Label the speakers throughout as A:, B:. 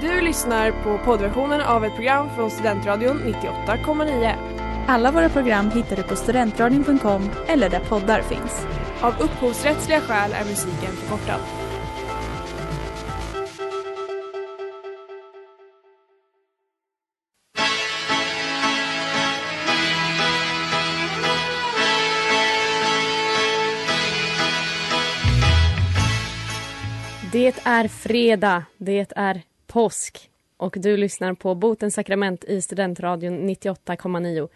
A: Du lyssnar på poddversionen av ett program från Studentradion 98,9.
B: Alla våra program hittar du på studentradion.com eller där poddar finns.
A: Av upphovsrättsliga skäl är musiken förkortad.
C: Det är fredag, det är påsk och du lyssnar på Botens sakrament i Studentradion 98,9.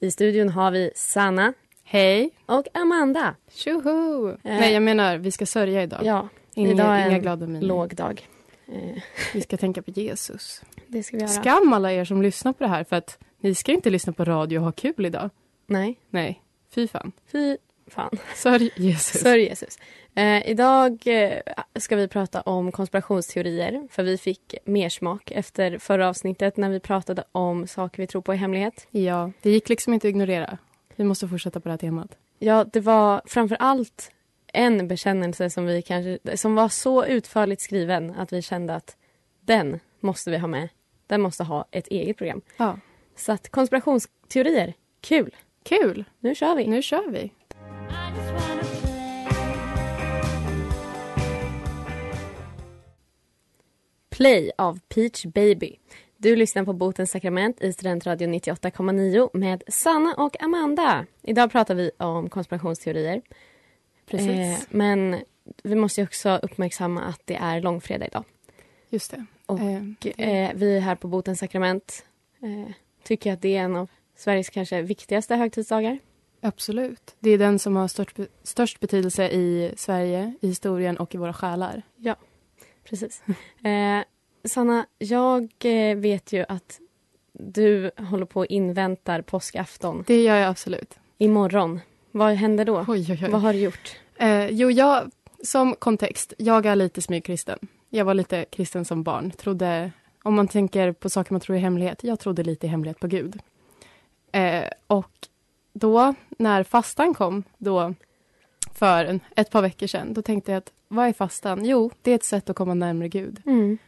C: I studion har vi Sanna
D: Hej.
C: och Amanda.
D: Tjoho! Nej, jag menar, vi ska sörja idag.
C: Eh. Ja,
D: inga,
C: idag är
D: inga
C: en
D: glada miner.
C: låg dag. Eh,
D: Vi ska tänka på Jesus.
C: det ska vi göra.
D: Skam alla er som lyssnar på det här, för att ni ska inte lyssna på radio och ha kul idag.
C: Nej,
D: Nej, fy fan.
C: fy fan.
D: Sörj Jesus.
C: Sörj Jesus. Eh, idag eh, ska vi prata om konspirationsteorier för vi fick mersmak efter förra avsnittet när vi pratade om saker vi tror på i hemlighet.
D: Ja, det gick liksom inte att ignorera. Vi måste fortsätta på det här temat.
C: Ja, det var framför allt en bekännelse som, vi kanske, som var så utförligt skriven att vi kände att den måste vi ha med. Den måste ha ett eget program.
D: Ja.
C: Så att konspirationsteorier, kul!
D: Kul!
C: Nu kör vi!
D: Nu kör vi.
C: Play av Peach Baby. Du lyssnar på Botens sakrament i Studentradion 98,9 med Sanna och Amanda. Idag pratar vi om konspirationsteorier.
D: Precis.
C: Eh, men vi måste ju också uppmärksamma att det är långfredag idag.
D: Just det.
C: och,
D: eh,
C: Och, eh, vi här på Botens sakrament eh, tycker att det är en av Sveriges kanske viktigaste högtidsdagar.
D: absolut. Det är den som har störst, be- störst betydelse i Sverige, i historien och i våra själar.
C: Precis. Eh, Sanna, jag eh, vet ju att du håller på och inväntar påskafton.
D: Det gör jag absolut.
C: Imorgon, vad händer då?
D: Oj, oj, oj.
C: Vad har du gjort?
D: Eh, jo, jag, som kontext, jag är lite smygkristen. Jag var lite kristen som barn. Trodde, om man tänker på saker man tror i hemlighet, jag trodde lite i hemlighet på Gud. Eh, och då, när fastan kom, då för en, ett par veckor sedan, då tänkte jag att vad är fastan? Jo, det är ett sätt att komma närmare Gud.
C: Mm.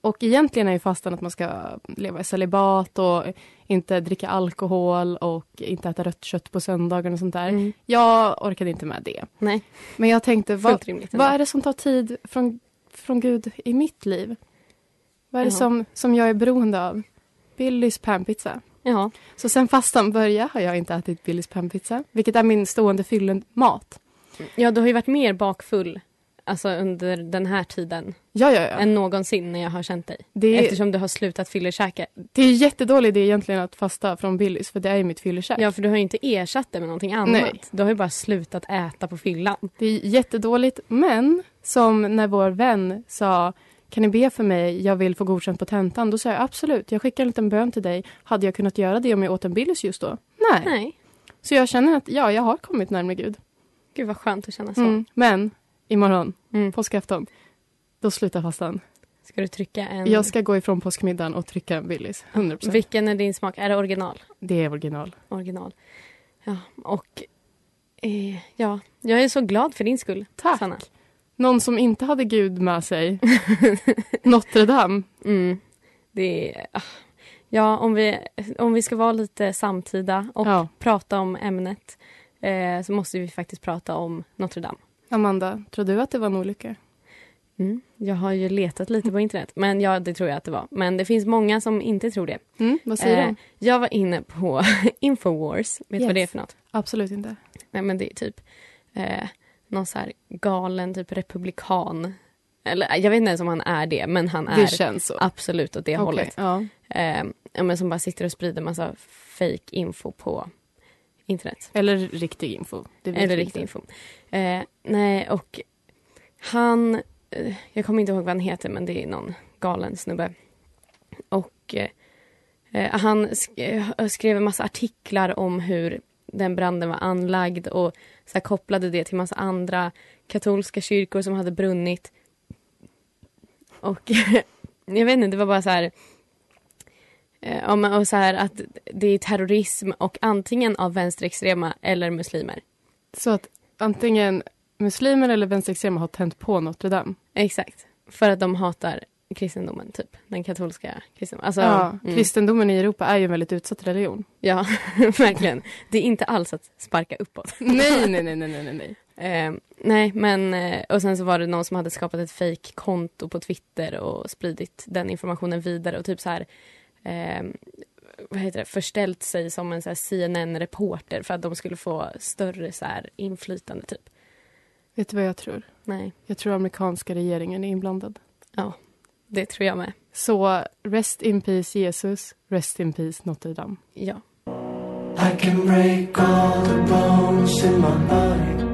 D: Och egentligen är ju fastan att man ska leva i celibat och inte dricka alkohol och inte äta rött kött på söndagen och sånt där.
C: Mm.
D: Jag orkade inte med det.
C: Nej,
D: Men jag tänkte, vad,
C: fullt rimligt. ändå.
D: vad är det som tar tid från, från Gud i mitt liv? Vad är det
C: Jaha.
D: som, som jag är beroende av? Billys panpizza.
C: Ja,
D: Så sen fastan började har jag inte ätit Billys panpizza, vilket är min stående fyllemat.
C: ja, du har ju varit mer bakfull alltså, under den här tiden
D: Ja, ja, ja.
C: än någonsin när jag har känt dig.
D: Det, är-
C: Eftersom du har slutat fyllekäka.
D: det är jättedålig idé egentligen att fasta från Billys, för det är ju mitt fyllekäk.
C: Ja, för du har ju inte ersatt det med någonting annat.
D: Nej.
C: Du har ju bara slutat äta på fyllan.
D: Det är jättedåligt, men som när vår vän sa kan ni be för mig, jag vill få godkänt på tentan. Då sa jag absolut, jag skickar en liten bön till dig. Hade jag kunnat göra det om jag åt en Billys just då? Nej.
C: Nej.
D: Så jag känner att ja, jag har kommit närmare Gud.
C: Gud vad skönt att känna så.
D: Mm. Men imorgon,
C: Mm.
D: påskafton, då slutar fastan.
C: Ska du trycka en...
D: Jag ska gå ifrån påskmiddagen och trycka en Willys. 100%.
C: Vilken är din smak? Är det original?
D: Det är original.
C: Original. Ja, och... Eh, ja, jag är så glad för din skull.
D: Tack.
C: Sanna.
D: Någon som inte hade Gud med sig, Notre Dame.
C: Mm. Det är... ah. Ja, om vi, om vi ska vara lite samtida och
D: Ja,
C: prata om ämnet eh, så måste vi faktiskt prata om Notre Dame.
D: Amanda, tror du att det var en olycka?
C: Mm. Jag har ju letat lite på internet, men ja, det tror jag att det var. Men det finns många som inte tror det.
D: Mm, vad säger
C: Eh,
D: du?
C: Jag var inne på Infowars. Vet du vad
D: Yes.
C: det är för något?
D: Absolut inte.
C: Nej, men det är typ eh, någon så här galen typ republikan. Eller eh, jag vet inte ens om han är det, men han är
D: Det känns så.
C: absolut åt det
D: Okej,
C: hållet.
D: Ja.
C: Eh, ja, men som bara sitter och sprider massa fake info på internet.
D: Eller riktig info. Det vet
C: Eller
D: vi
C: riktig
D: inte.
C: info. Eh, nej, och han... Eh, jag kommer inte ihåg vad han heter, men det är någon galen snubbe. Och eh, eh, han sk- eh, skrev en massa artiklar om hur den branden var anlagd och så här kopplade det till massa andra katolska kyrkor som hade brunnit. Och jag vet inte, det var bara så här... eh, Ja, men, och så här att det är terrorism och antingen av vänsterextrema eller muslimer.
D: Så att antingen muslimer eller vänsterextrema har tänt på Notre Dame.
C: Exakt. För att de hatar kristendomen, typ. Den katolska kristendomen. Alltså,
D: ja,
C: mm.
D: Kristendomen i Europa är ju en väldigt utsatt religion.
C: Ja, verkligen. Det är inte alls att sparka uppåt.
D: nej, nej, nej, nej, nej, nej, nej.
C: Eh, nej, men eh, och sen så var det någon som hade skapat ett fejkkonto på Twitter och spridit den informationen vidare och typ så här eh, vad heter det, förställt sig som en så här CNN-reporter för att de skulle få större så här inflytande typ.
D: Vet du vad jag tror?
C: Nej,
D: Jag tror amerikanska regeringen är inblandad.
C: det tror jag med.
D: Så rest in peace Jesus, rest in peace Notre Dame.
C: Ja.
E: I can break all the bones in my body.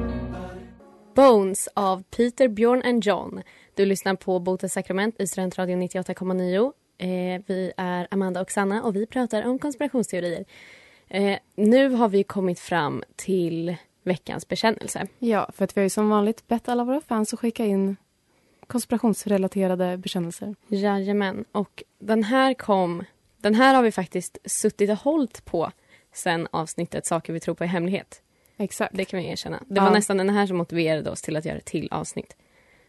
C: Bones av Peter, Björn and John. Du lyssnar på Botens sakrament i Studentradion 98,9. Eh, vi är Amanda och Sanna och vi pratar om konspirationsteorier. Eh, nu har vi kommit fram till veckans bekännelse.
D: Ja, för att vi har ju som vanligt bett alla våra fans att skicka in konspirationsrelaterade bekännelser.
C: Jajamän. Och den här kom... Den här har vi faktiskt suttit och hållit på sen avsnittet Saker vi tror på i hemlighet.
D: Exakt.
C: Det kan vi erkänna. Det
D: Ja.
C: var nästan den här som motiverade oss till att göra ett till avsnitt.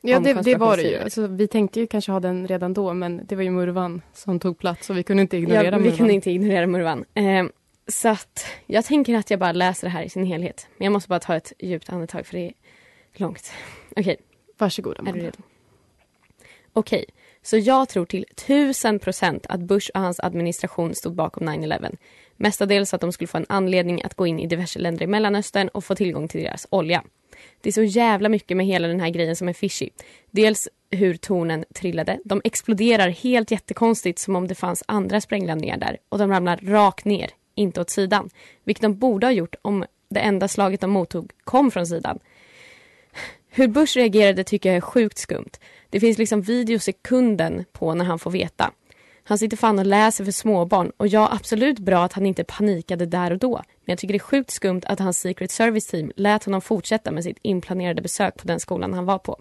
D: Ja,
C: om
D: det, det var det ju.
C: konspirationsteorier.
D: Alltså, vi tänkte ju kanske ha den redan då, men det var ju Murvan som tog plats och vi kunde inte ignorera
C: ja, Vi
D: Murvan.
C: kunde inte ignorera Murvan. Eh, så att jag tänker att jag bara läser det här i sin helhet. Men jag måste bara ta ett djupt andetag för det är långt. Okej,
D: Varsågod,
C: är du
D: Amanda.
C: redo? Okej, så jag tror till tusen procent att Bush och hans administration stod bakom 9-11. Mestadels att de skulle få en anledning att gå in i diverse länder i Mellanöstern och få tillgång till deras olja. Det är så jävla mycket med hela den här grejen som är fishy. Dels hur tornen trillade. De exploderar helt jättekonstigt som om det fanns andra sprängladdningar där och de ramlar rakt ner, inte åt sidan. Vilket de borde ha gjort om det enda slaget de mottog kom från sidan. Hur Bush reagerade tycker jag är sjukt skumt. Det finns liksom videosekunden på när han får veta. Han sitter fan och läser för småbarn och jag är absolut bra att han inte panikade där och då. Men jag tycker det är sjukt skumt att hans Secret Service team lät honom fortsätta med sitt inplanerade besök på den skolan han var på.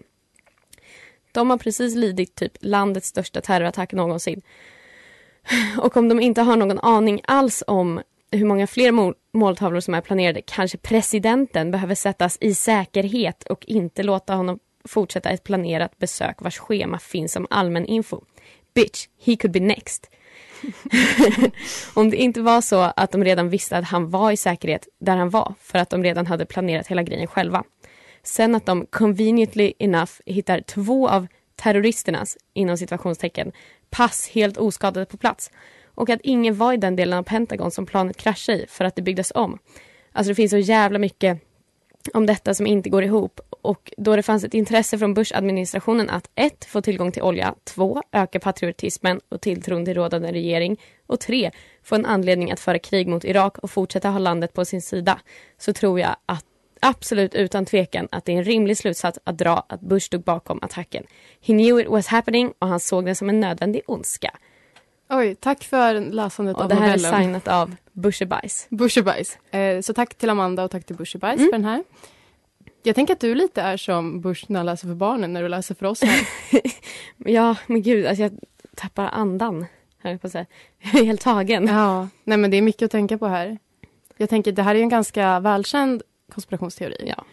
C: De har precis lidit typ landets största terrorattack någonsin. Och om de inte har någon aning alls om hur många fler mål- måltavlor som är planerade kanske presidenten behöver sättas i säkerhet och inte låta honom fortsätta ett planerat besök vars schema finns som allmän info. Bitch, he could be next. Om det inte var så att de redan visste att han var i säkerhet där han var för att de redan hade planerat hela grejen själva. Sen att de conveniently enough hittar två av terroristernas, inom situationstecken, pass helt oskadade på plats och att ingen var i den delen av Pentagon som planet kraschade i för att det byggdes om. Alltså det finns så jävla mycket om detta som inte går ihop och då det fanns ett intresse från Bush-administrationen att 1. få tillgång till olja, 2. öka patriotismen och tilltron till rådande regering och 3. få en anledning att föra krig mot Irak och fortsätta ha landet på sin sida så tror jag att absolut utan tvekan att det är en rimlig slutsats att dra att Bush stod bakom attacken. He knew it was happening och han såg den som en nödvändig ondska.
D: Oj, tack för läsandet
C: Och
D: av
C: det här är
D: novellen.
C: signat av Bushebajs.
D: Bushebajs. Eh, så tack till Amanda och tack till Bushebajs
C: Mm.
D: för den här. Jag tänker att du lite är som Bush när han läser för barnen, när du läser för oss här.
C: Ja, men gud, alltså jag tappar andan. höll Jag på att säga. Jag är helt tagen.
D: ja, nej men det är mycket att tänka på här. Jag tänker, det här är en ganska välkänd konspirationsteori.
C: Ja.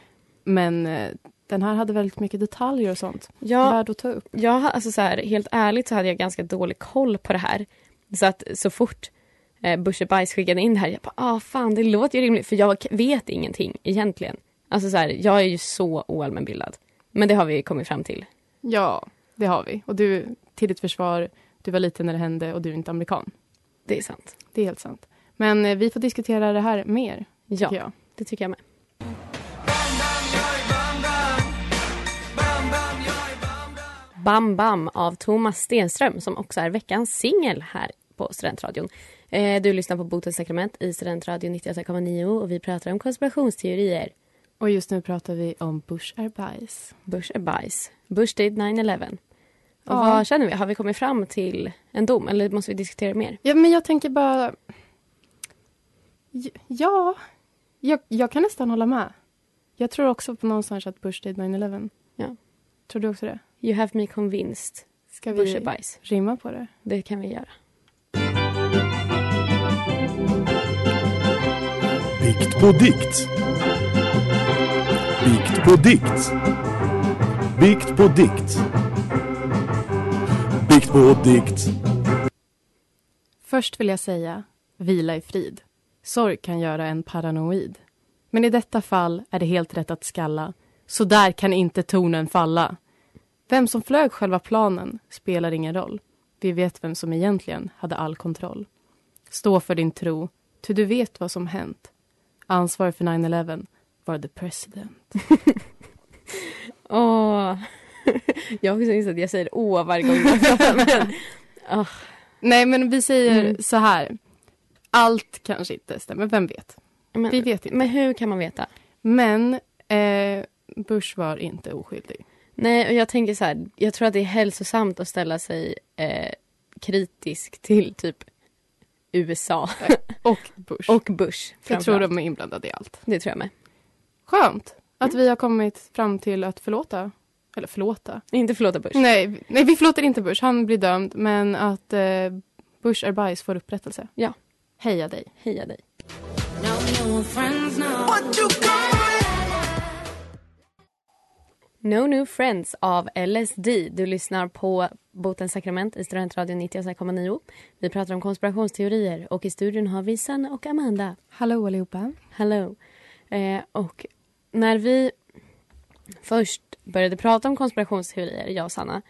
D: Men eh, den här hade väldigt mycket detaljer och sånt.
C: Jag,
D: Värd att ta upp.
C: jag, har- alltså så här, helt ärligt så hade jag ganska dålig koll på det här. Så att så fort eh, Bush och Bajs skickade in det här, jag bara, ah fan det låter ju rimligt. För jag k- vet ingenting egentligen. Alltså så här, jag är ju så oallmänbildad. Men det har vi kommit fram till.
D: Ja, det har vi. Och du, till ditt försvar, du var liten när det hände och du är inte amerikan.
C: Det är sant.
D: Det är helt sant. Men eh, vi får diskutera det här mer,
C: Ja,
D: tycker jag.
C: det tycker jag med. Bam Bam av Thomas Stenström som också är veckans singel här på Studentradion. Eh, du lyssnar på Botens sakrament i Studentradion 98,9 och vi pratar om konspirationsteorier.
D: Och just nu pratar vi om Bush är bajs.
C: Bush är bajs. Bush did 9-11. Och
D: Ja.
C: Vad känner vi? Har vi kommit fram till en dom eller måste vi diskutera mer?
D: Ja, men jag tänker bara... J- Ja, jag, jag kan nästan hålla med. Jag tror också på någonstans att Bush did 9-11.
C: Ja.
D: Tror du också det?
C: You have me convinced.
D: Ska
C: Bush är
D: vi
C: bajs.
D: rimma på det?
C: Det kan vi göra.
F: Bikt på dikt. Bikt på dikt. Bikt på dikt. Bikt på dikt.
D: Först vill jag säga, vila i frid. Sorg kan göra en paranoid. Men i detta fall är det helt rätt att skalla. Så där kan inte tonen falla. Vem som flög själva planen spelar ingen roll. Vi vet vem som egentligen hade all kontroll. Stå för din tro, ty du vet vad som hänt. Ansvarig för 9-11 var the president.
C: Åh. jag har också insett att jag säger åh varje gång jag pratar med en.
D: Nej, men vi säger
C: Mm.
D: så här. Allt kanske inte stämmer, vem vet?
C: Men,
D: Vi vet inte.
C: men hur kan man veta?
D: Men eh, Bush var inte oskyldig.
C: Nej, och jag tänker så här, jag tror att det är hälsosamt att ställa sig eh, kritisk till typ USA
D: Och Bush.
C: och Bush.
D: jag tror
C: framförallt.
D: de är inblandade i allt.
C: Det tror jag med.
D: Skönt att vi har kommit fram till att förlåta. Eller förlåta.
C: Inte förlåta Bush.
D: Nej, vi- nej vi förlåter inte Bush. Han blir dömd. Men att eh, Bush är bajs får upprättelse.
C: Ja.
D: Heja dig.
C: Heja dig. No New Friends av LSD. Du lyssnar på Botens sakrament i Studentradion 98,9. Vi pratar om konspirationsteorier och i studion har vi Sanna och Amanda.
D: Hallå allihopa.
C: Hello. Eh, och när vi först började prata om konspirationsteorier, jag och Sanna,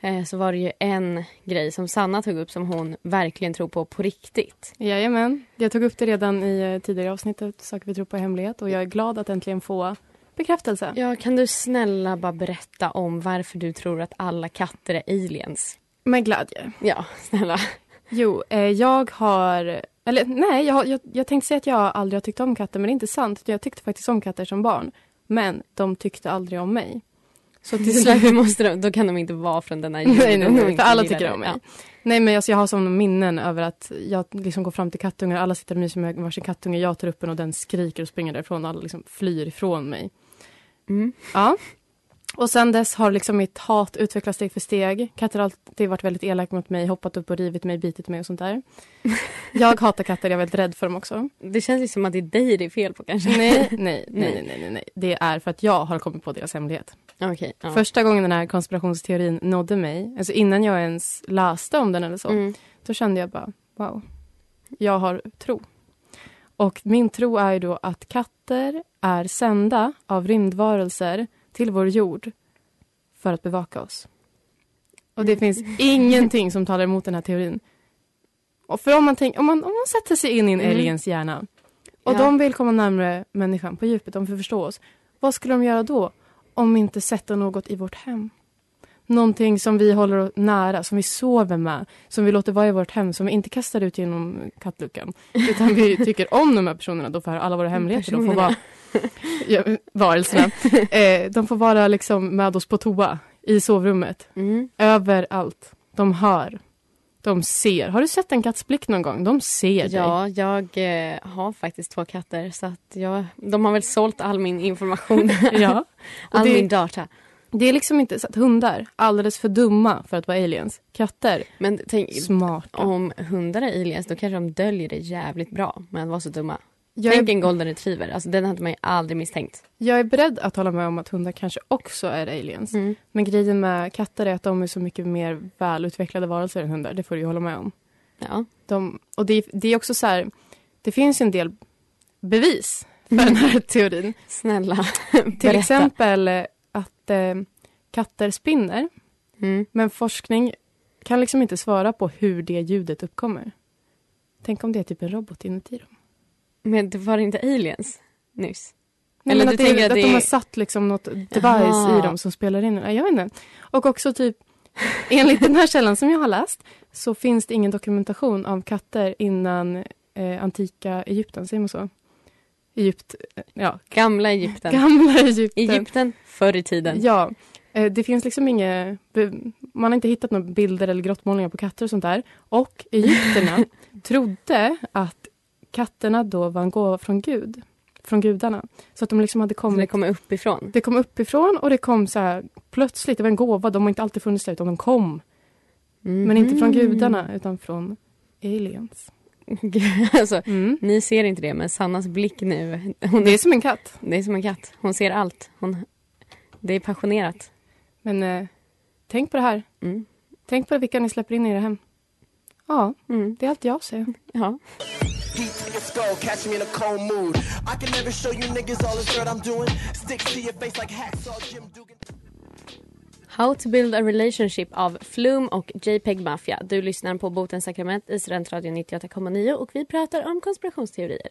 C: eh, så var det ju en grej som Sanna tog upp som hon verkligen tror på på riktigt.
D: Jajamän. Jag tog upp det redan i eh, tidigare avsnittet. Saker vi tror på i hemlighet. Och jag är glad att äntligen få bekräftelse.
C: Ja, kan du snälla bara berätta om varför du tror att alla katter är aliens?
D: Med glädje.
C: Ja, snälla.
D: Jo, eh, jag har... Eller nej, jag, har- jag, jag tänkte säga att jag aldrig har tyckt om katter, men det är inte sant. Jag tyckte faktiskt om katter som barn, men de tyckte aldrig om mig. Så till slut...
C: Därför måste de, då kan de inte vara från den här
D: Nej, nej,
C: jorden och
D: nej,
C: inte
D: för alla
C: gillar
D: tycker
C: det.
D: om mig. Nej, men alltså, jag har sådana minnen över att jag liksom går fram till kattungar, alla sitter och myser med varsin kattunge, jag tar upp en och den skriker och springer därifrån, alla liksom flyr ifrån mig.
C: Ja. Mm.
D: Ja. Och sen dess har liksom mitt hat utvecklats steg för steg. Katter har alltid varit väldigt elak mot mig, hoppat upp och rivit mig, bitit mig och sånt där. Jag hatar katter, jag är väldigt rädd för dem också.
C: Det känns ju som att det är dig det är fel på kanske.
D: Nej, nej, nej, nej, nej, nej, nej. Det är för att jag har kommit på deras hemlighet.
C: Okej. ja.
D: Första gången den här konspirationsteorin nådde mig, alltså innan jag ens läste om den eller så,
C: Mm.
D: då kände jag bara, wow, jag har tro. Och min tro är ju då att katter är sända av rymdvarelser till vår jord för att bevaka oss. Och
C: Mm.
D: det finns ingenting som talar emot den här teorin. Och för om man, tänk, om man, om man sätter sig in i en
C: Mm.
D: aliens hjärna och
C: Ja.
D: de vill komma närmare människan på djupet, de vill förstå oss. Vad skulle de göra då om inte sätta något i vårt hem? Någonting som vi håller nära, som vi sover med, som vi låter vara i vårt hem, som vi inte kastar ut genom kattluckan. Utan vi tycker om de här personerna, då får alla våra hemligheter. De får vara, ja, varelserna. Eh, de får vara liksom med oss på toa, i sovrummet.
C: Mm.
D: Överallt. De hör. De ser. Har du sett en katts blick någon gång? De ser dig.
C: Ja, jag eh, har faktiskt två katter så att jag, de har väl sålt all min information,
D: Ja. Och
C: all
D: det,
C: min data.
D: det är liksom inte så att hundar, alldeles för dumma för att vara aliens. Katter,
C: Men tänk,
D: smarta.
C: om hundar är aliens då kanske de döljer det jävligt bra med att vara så dumma.
D: jag,
C: Tänk
D: är,
C: en golden retriever, alltså den hade man ju aldrig misstänkt.
D: jag är beredd att hålla med om att hundar kanske också är aliens.
C: Mm.
D: Men grejen med katter är att de är så mycket mer välutvecklade varelser än hundar. Det får du ju hålla med om.
C: Ja.
D: De, och det, är- det är också så här, det finns ju en del bevis för den här teorin.
C: Snälla,
D: Till
C: berätta.
D: exempel eh, att eh, katter spinner.
C: Mm.
D: Men forskning kan liksom inte svara på hur det ljudet uppkommer. Tänk om det är typ en robot inuti dem.
C: Men det var inte aliens nyss?
D: Nej,
C: Eller
D: men
C: du
D: att, det,
C: tänker
D: är-
C: att
D: att
C: det
D: de
C: är-
D: har satt liksom något device
C: Jaha.
D: i dem som spelar in. Nej, Jag vet inte. Och också typ, enligt den här källan som jag har läst så finns det ingen dokumentation av katter innan eh, antika Egypten, säger man så? Egypt, eh, ja,
C: Gamla Egypten.
D: gamla Egypten.
C: Egypten förr i tiden.
D: Ja, eh, det finns liksom inga, be- man har inte hittat några bilder eller grottmålningar på katter och sånt där. Och egyptierna trodde att katterna då var en gåva från Gud, från gudarna. Så att de liksom hade
C: Som det
D: kommit,
C: kommer uppifrån.
D: det kom uppifrån och det kom så här plötsligt, det var en gåva, de har inte alltid funnits där utan de kom. Men inte från
C: Mhm.
D: gudarna utan från aliens.
C: alltså,
D: Mm.
C: ni ser inte det, men Sannas blick nu, hon
D: Det är som en katt.
C: Det är som en katt. Hon ser allt. Hon, det är passionerat.
D: Men eh, tänk på det här.
C: Mm.
D: Tänk på vilka ni släpper in i era hem. Ja,
C: Mm.
D: det är allt jag säger.
C: Ja.
G: Heat to your skull, catch me in a cold mood. I can never show you niggas all this dirt I'm doing. Sticks to your face like hacksaw Jim Dugan.
C: How to build a relationship av Flum och JPEG Mafia. Du lyssnar på Botens sakrament i Studentradion 98,9 och vi pratar om konspirationsteorier.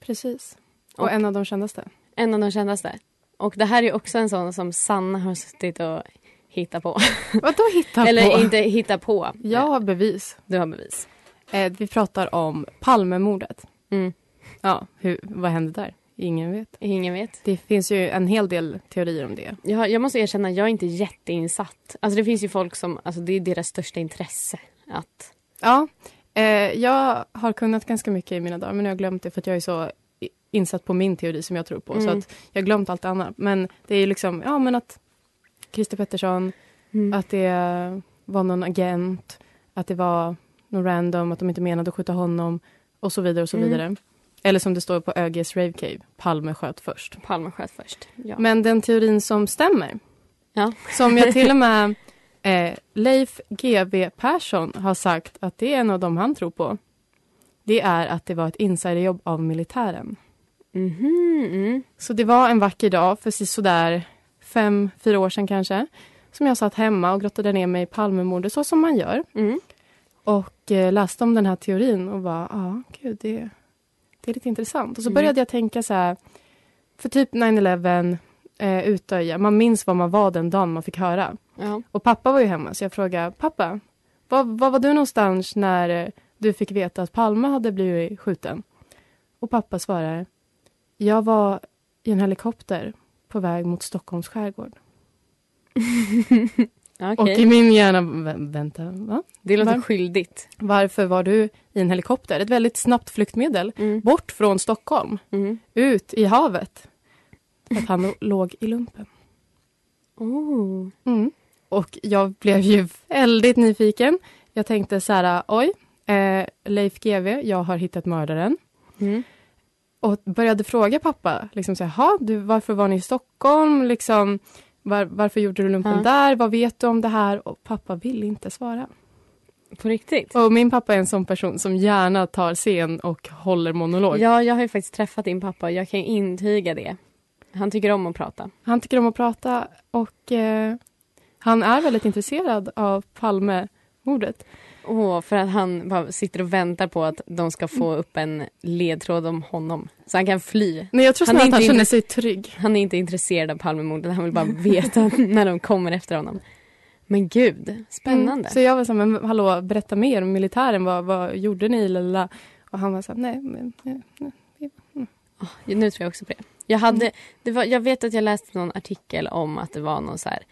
D: Precis. Och,
C: Och-
D: en av de kändaste.
C: En av de kändaste. Och det här är också en sån som Sanna har suttit och hittat på.
D: Vadå hitta
C: Eller
D: på?
C: inte hittat på.
D: Jag har bevis.
C: Du har bevis.
D: Eh, vi pratar om Palmemordet.
C: Mm.
D: Ja, hur, vad hände där? Ingen vet.
C: Ingen vet.
D: Det finns ju en hel del teorier om det.
C: Jag, jag måste erkänna, jag är inte jätteinsatt. Alltså det finns ju folk som, alltså det är deras största intresse att...
D: Ja, eh, jag har kunnat ganska mycket i mina dagar men jag har glömt det för att jag är så i- insatt på min teori som jag tror på så
C: Mm.
D: att jag har glömt allt annat. Men det är ju liksom, ja men att Christer Pettersson,
C: Mm.
D: att det var någon agent, att det var någon random, att de inte menade att skjuta honom och så vidare och så
C: Mm.
D: vidare. Eller som det står på ÖGs Rave Cave, Palme sköt först.
C: Palme sköt först. Ja.
D: Men den teorin som stämmer,
C: Ja.
D: som jag till och med eh, Leif GW Persson har sagt att det är en av dem han tror på. Det är att det var ett insiderjobb av militären.
C: Mhm, mm.
D: Så det var en vacker dag för sådär fem, fyra år sedan kanske som jag satt hemma och grottade ner mig i Palmemordet så som man gör
C: Mm.
D: och eh, läste om den här teorin och bara, ja, ah, gud, det, det är lite intressant. Och så
C: Mm.
D: började jag tänka så här, för typ 9-11, eh, Utöja, man minns vad man var den dagen man fick höra.
C: Ja.
D: Och pappa var ju hemma, så jag frågade, pappa, var, var var du någonstans när eh, du fick veta att Palme hade blivit skjuten? Och pappa svarar, jag var i en helikopter på väg mot Stockholms skärgård.
C: Okej.
D: Och i min hjärna, vä- vänta, va?
C: det låter
D: va?
C: skyldigt.
D: Varför var du i en helikopter? Ett väldigt snabbt flyktmedel.
C: Mm.
D: Bort från Stockholm,
C: Mm.
D: ut i havet. För att han låg i lumpen.
C: Oh.
D: Mm. Och jag blev ju väldigt nyfiken. Jag tänkte så här, oj, eh, Leif GW, jag har hittat mördaren.
C: Mm.
D: Och började fråga pappa, liksom så här, "Jaha, du, varför var ni i Stockholm? Liksom, var, varför gjorde du lumpen
C: Ja.
D: där? Vad vet du om det här? Och pappa ville inte svara.
C: På riktigt?
D: Och min pappa är en sån person som gärna tar scen och håller monolog.
C: Ja, jag har ju faktiskt träffat din pappa och jag kan ju intyga det. Han tycker om att prata.
D: Han tycker om att prata och eh, han är väldigt intresserad av Palmemordet.
C: Åh, för att han bara sitter och väntar på att de ska få upp en ledtråd om honom. Så han kan fly.
D: Nej, jag tror
C: Han är
D: snarare att han
C: inte
D: känner
C: in-
D: sig trygg.
C: Han är inte intresserad av Palmemordet, han vill bara veta när de kommer efter honom. Men gud, spännande.
D: Mm. Så jag var så här, men hallå, berätta mer om militären, vad, vad gjorde ni? Lalala. Och han var så här, nej, men... nej, nej."
C: Nu tror jag också på det. Jag, hade,
D: Mm.
C: det var, jag vet att jag läste någon artikel om att det var någon så här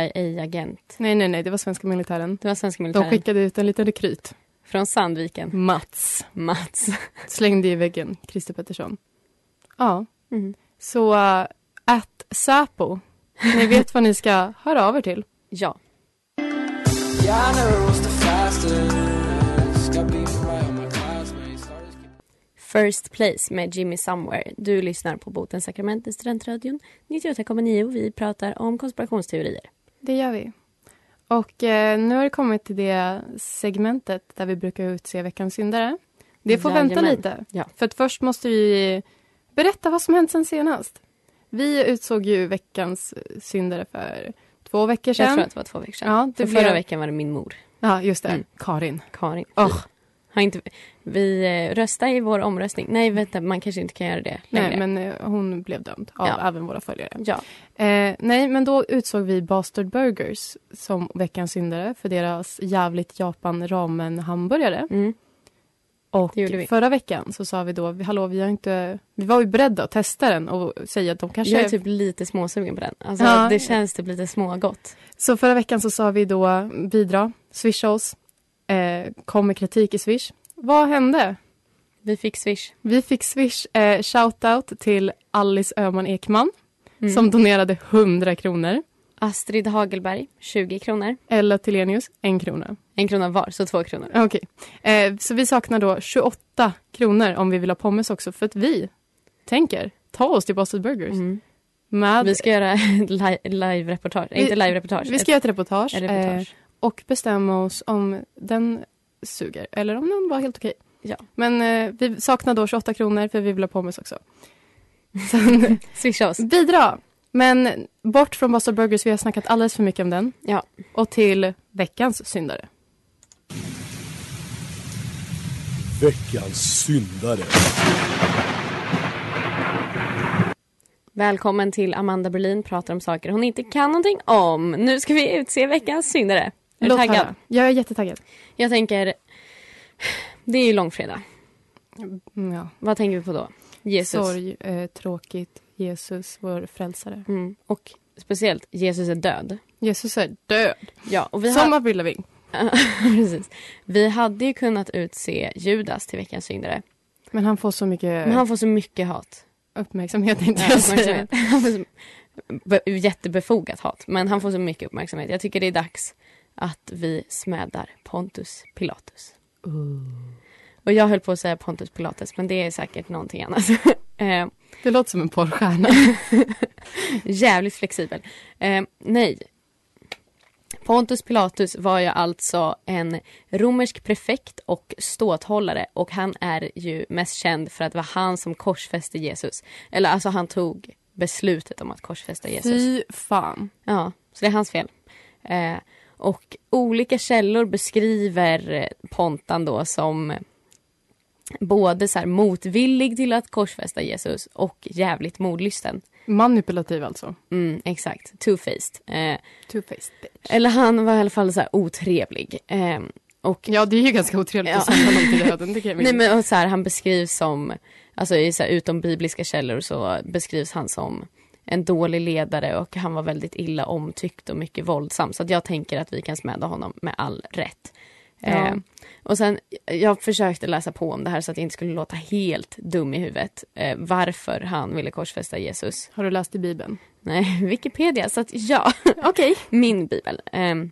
C: CIA-agent.
D: Nej, nej, nej, det var svenska militären.
C: Det var svenska
D: De
C: militären.
D: skickade ut en liten rekryt,
C: Från Sandviken.
D: Mats,
C: Mats.
D: slängde i väggen, Christer Pettersson. Ja,
C: Mm.
D: så eh, att Säpo, ni vet vad ni ska höra av er till.
C: Ja.
E: Yeah, I never was the fastest. Got beat by all my classmates. Started
C: First Place med Jimmy Somewhere. Du lyssnar på Botens sakrament i Studentradion 98,9 och vi pratar om konspirationsteorier.
D: Det gör vi. Och eh, nu har det kommit till det segmentet där vi brukar utse veckans syndare. Det får vänta
C: Jajamän.
D: lite.
C: Ja.
D: För att först måste vi berätta vad som hänt sen senast. Vi utsåg ju veckans syndare för två veckor
C: Jag
D: sedan.
C: tror att det var två veckor sedan.
D: Ja, det
C: För
D: blev-
C: Förra veckan var det min mor,
D: Ja, just det.
C: Mm.
D: Karin.
C: Karin.
D: Oh,
C: Har inte... Vi eh, röstar i vår omröstning. Nej, vänta, man kanske inte kan göra det längre.
D: nej, men eh, hon blev dömd av
C: Ja.
D: även våra följare.
C: Ja.
D: Eh, nej, men då utsåg vi Bastard Burgers som veckans syndare för deras jävligt Japan ramen-hamburgare.
C: Mm.
D: Och
C: Det gjorde vi.
D: förra veckan så sa vi då, vi- hallå vi har inte, vi var ju beredda att testa den och säga att de kanske...
C: Jag är typ lite småsugen på den. Alltså,
D: Ja.
C: Det känns typ lite smågott.
D: Så förra veckan så sa vi då, bidra, swisha oss, eh, kom med kritik i swish. Vad hände?
C: Vi fick swish.
D: Vi fick swish, eh, shoutout till Alice Öhman Ekman
C: Mm.
D: som donerade 100 kronor.
C: Astrid Hagelberg, 20 kronor.
D: Ella Telenius, en krona.
C: En krona var, så två kronor.
D: Okej. Eh, så vi saknar då 28 kronor om vi vill ha pommes också för att vi tänker ta oss till Boston Burgers
C: Mm.
D: med
C: Vi ska göra ett li- live-reportage.
D: Vi-
C: inte live-reportage.
D: Vi ska göra ett reportage.
C: ett, ett reportage.
D: Eh, och bestämma oss om den suger eller om den var helt okej.
C: Ja.
D: Men eh, vi saknar då 28 kronor för vi vill ha pommes också. Sen,
C: Swisha oss.
D: bidra! Men bort från Boston Burgers, vi har snackat alldeles för mycket om den.
C: Ja.
D: Och till veckans syndare.
F: Veckans syndare.
C: Välkommen till Amanda Berlin pratar om saker hon inte kan någonting om. Nu ska vi utse veckans syndare. Är du
D: Låt
C: taggad?
D: höra. Jag är jättetaggad.
C: Jag tänker, det är ju långfredag.
D: Mm, Ja.
C: Vad tänker vi på då? Jesus.
D: Sorg, eh, tråkigt, Jesus, vår frälsare.
C: Mm. Och speciellt, Jesus är död.
D: Jesus är död.
C: Ja, och vi
D: Som
C: har...
D: Avril Lavigne.
C: Precis. Vi hade ju kunnat utse Judas till veckans syndare.
D: Men han får så mycket
C: Men han får så mycket hat.
D: uppmärksamhet. Inte
C: Nej,
D: jag
C: uppmärksamhet. Han får så... be- Jättebefogat hat, men han får så mycket uppmärksamhet. Jag tycker det är dags att vi smädar Pontus Pilatus. Och jag höll på att säga Pontus Pilatus, men det är säkert någonting annat. eh,
D: Det låter som en porrstjärna.
C: jävligt flexibel. Eh, nej. Pontus Pilatus var ju alltså en romersk prefekt och ståthållare och han är ju mest känd för att det var han som korsfäste Jesus. Eller alltså han tog beslutet om att korsfästa Jesus.
D: Fy fan.
C: Ja, så det är hans fel. Eh, och olika källor beskriver eh, Pontan då som både så här motvillig till att korsfästa Jesus och jävligt modlysten.
D: Manipulativ alltså.
C: Mm, exakt, two-faced. Eh,
D: Two-faced bitch.
C: eller han var i alla fall så här otrevlig. Eh, och
D: Ja, det är ju ganska otrevligt
C: Ja.
D: att säga någon till döden. Det kan jag
C: Nej
D: verkligen-
C: men och så här, han beskrivs som, alltså i så här, utom bibliska källor så beskrivs han som en dålig ledare och han var väldigt illa omtyckt och mycket våldsam. Så att jag tänker att vi kan smäda honom med all rätt.
D: Ja.
C: Eh, och sen, jag försökte läsa på om det här så att jag inte skulle låta helt dum i huvudet. Eh, varför han ville korsfästa Jesus.
D: Har du läst i Bibeln?
C: Nej, Wikipedia, så att ja. Okej. Min bibel. Ehm,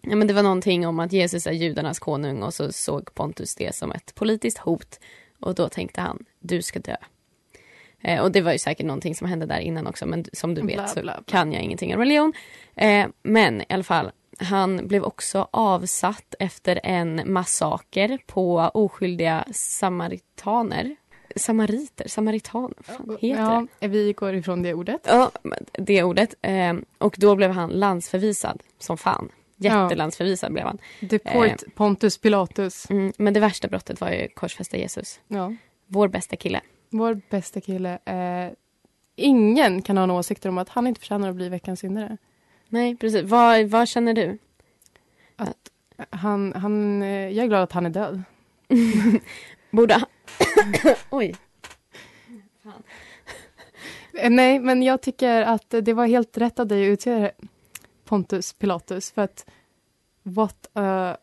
C: ja, men det var någonting om att Jesus är judarnas konung och så såg Pontus det som ett politiskt hot. Och då tänkte han, du ska dö. Eh, och det var ju säkert någonting som hände där innan också men som du vet
D: Bla,
C: så
D: bla, bla.
C: kan jag ingenting om religion. Eh, men i alla fall, han blev också avsatt efter en massaker på oskyldiga samaritaner. Samariter, samaritaner, vad fan heter det?
D: Ja, vi går ifrån det ordet.
C: Ja, men det ordet. Eh, och då blev han landsförvisad som fan. Jättelandsförvisad blev han.
D: Deport Pontus Pilatus.
C: Mm, men det värsta brottet var ju korsfästa Jesus.
D: Ja.
C: Vår bästa kille.
D: Vår bästa kille. Eh, ingen kan ha några åsikter om att han inte förtjänar att bli veckans syndare.
C: Nej, precis. Vad, vad känner du?
D: Han, han, eh, jag är glad att han är död.
C: Borde han... Oj.
D: Eh, Nej, men jag tycker att det var helt rätt av dig att utse Pontus Pilatus för att what a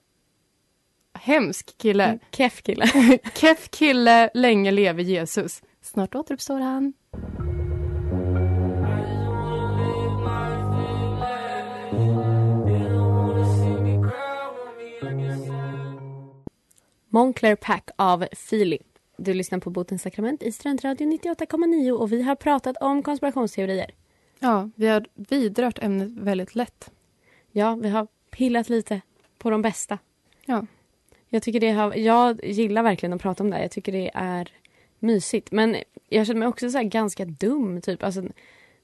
D: hemsk kille.
C: Keff kille.
D: Keff kille, länge leve Jesus. Snart återuppstår han.
C: Moncler Pack av Feeling. Du lyssnar på Botens sakrament i Studentradion 98,9 och vi har pratat om konspirationsteorier.
D: Ja, vi har vidrört ämnet väldigt lätt.
C: Ja, vi har pillat lite på de bästa.
D: Ja.
C: Jag, tycker det har, jag gillar verkligen att prata om det här. Jag tycker det är mysigt. Men jag känner mig också så här ganska dum typ. Alltså,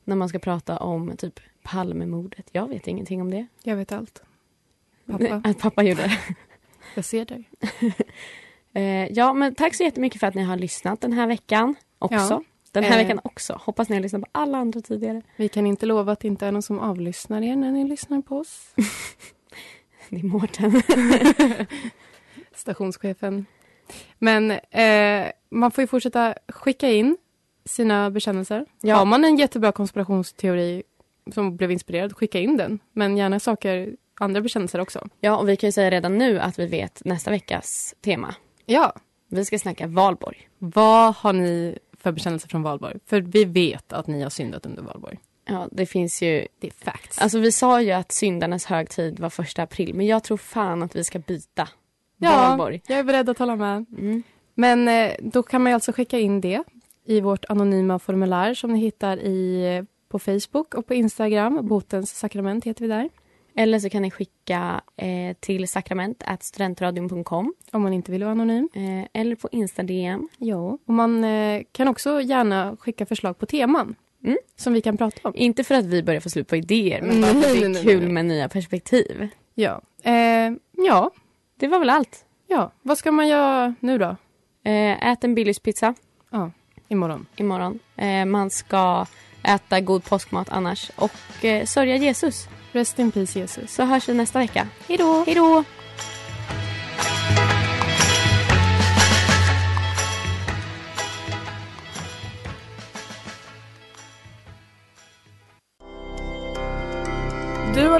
C: när man ska prata om typ Palmemordet. Jag vet ingenting om det.
D: Jag vet allt. Pappa,
C: Att pappa gjorde det.
D: jag ser dig.
C: Eh, ja, men tack så jättemycket för att ni har lyssnat den här veckan också.
D: Ja.
C: Den här
D: Eh.
C: veckan också. Hoppas ni har lyssnat på alla andra tidigare.
D: Vi kan inte lova att det inte är någon som avlyssnar er när ni lyssnar på oss.
C: Det är Mårten.
D: Stationschefen. Men eh, man får ju fortsätta skicka in sina bekännelser.
C: Ja.
D: Har man en jättebra konspirationsteori som blev inspirerad, skicka in den. Men gärna saker, andra bekännelser också.
C: Ja, och vi kan ju säga redan nu att vi vet nästa veckas tema.
D: Ja.
C: Vi ska snacka valborg.
D: Vad har ni för bekännelser från valborg? För vi vet att ni har syndat under valborg.
C: Ja, det finns ju
D: Det är facts.
C: Alltså vi sa ju att syndarnas högtid var första april men jag tror fan att vi ska byta
D: ja,
C: valborg.
D: jag är beredd att hålla med.
C: Mm.
D: Men eh, då kan man ju alltså skicka in det i vårt anonyma eh, formulär som ni hittar i, på Facebook och på Instagram. Botens sakrament heter vi där.
C: Eller så kan ni skicka eh, till sakrament.studentradion.com
D: om man inte vill vara anonym.
C: eh, eller på Insta-DM.
D: Ja. Och man eh, kan också gärna skicka förslag på teman
C: Mm.
D: som vi kan prata om.
C: Inte för att vi börjar få slut på idéer, men
D: Nej,
C: bara för att det
D: nej,
C: är
D: nej,
C: kul
D: nej.
C: med nya perspektiv.
D: Ja. Eh, ja.
C: Det var väl allt.
D: ja, vad ska man göra nu då?
C: Eh, ät en Billys pizza
D: Imorgon.
C: imorgon. Eh, man ska äta god påskmat annars och eh, sörja Jesus.
D: Rest in peace Jesus.
C: Så hörs vi nästa vecka. Hej då! Hej då!
A: Du har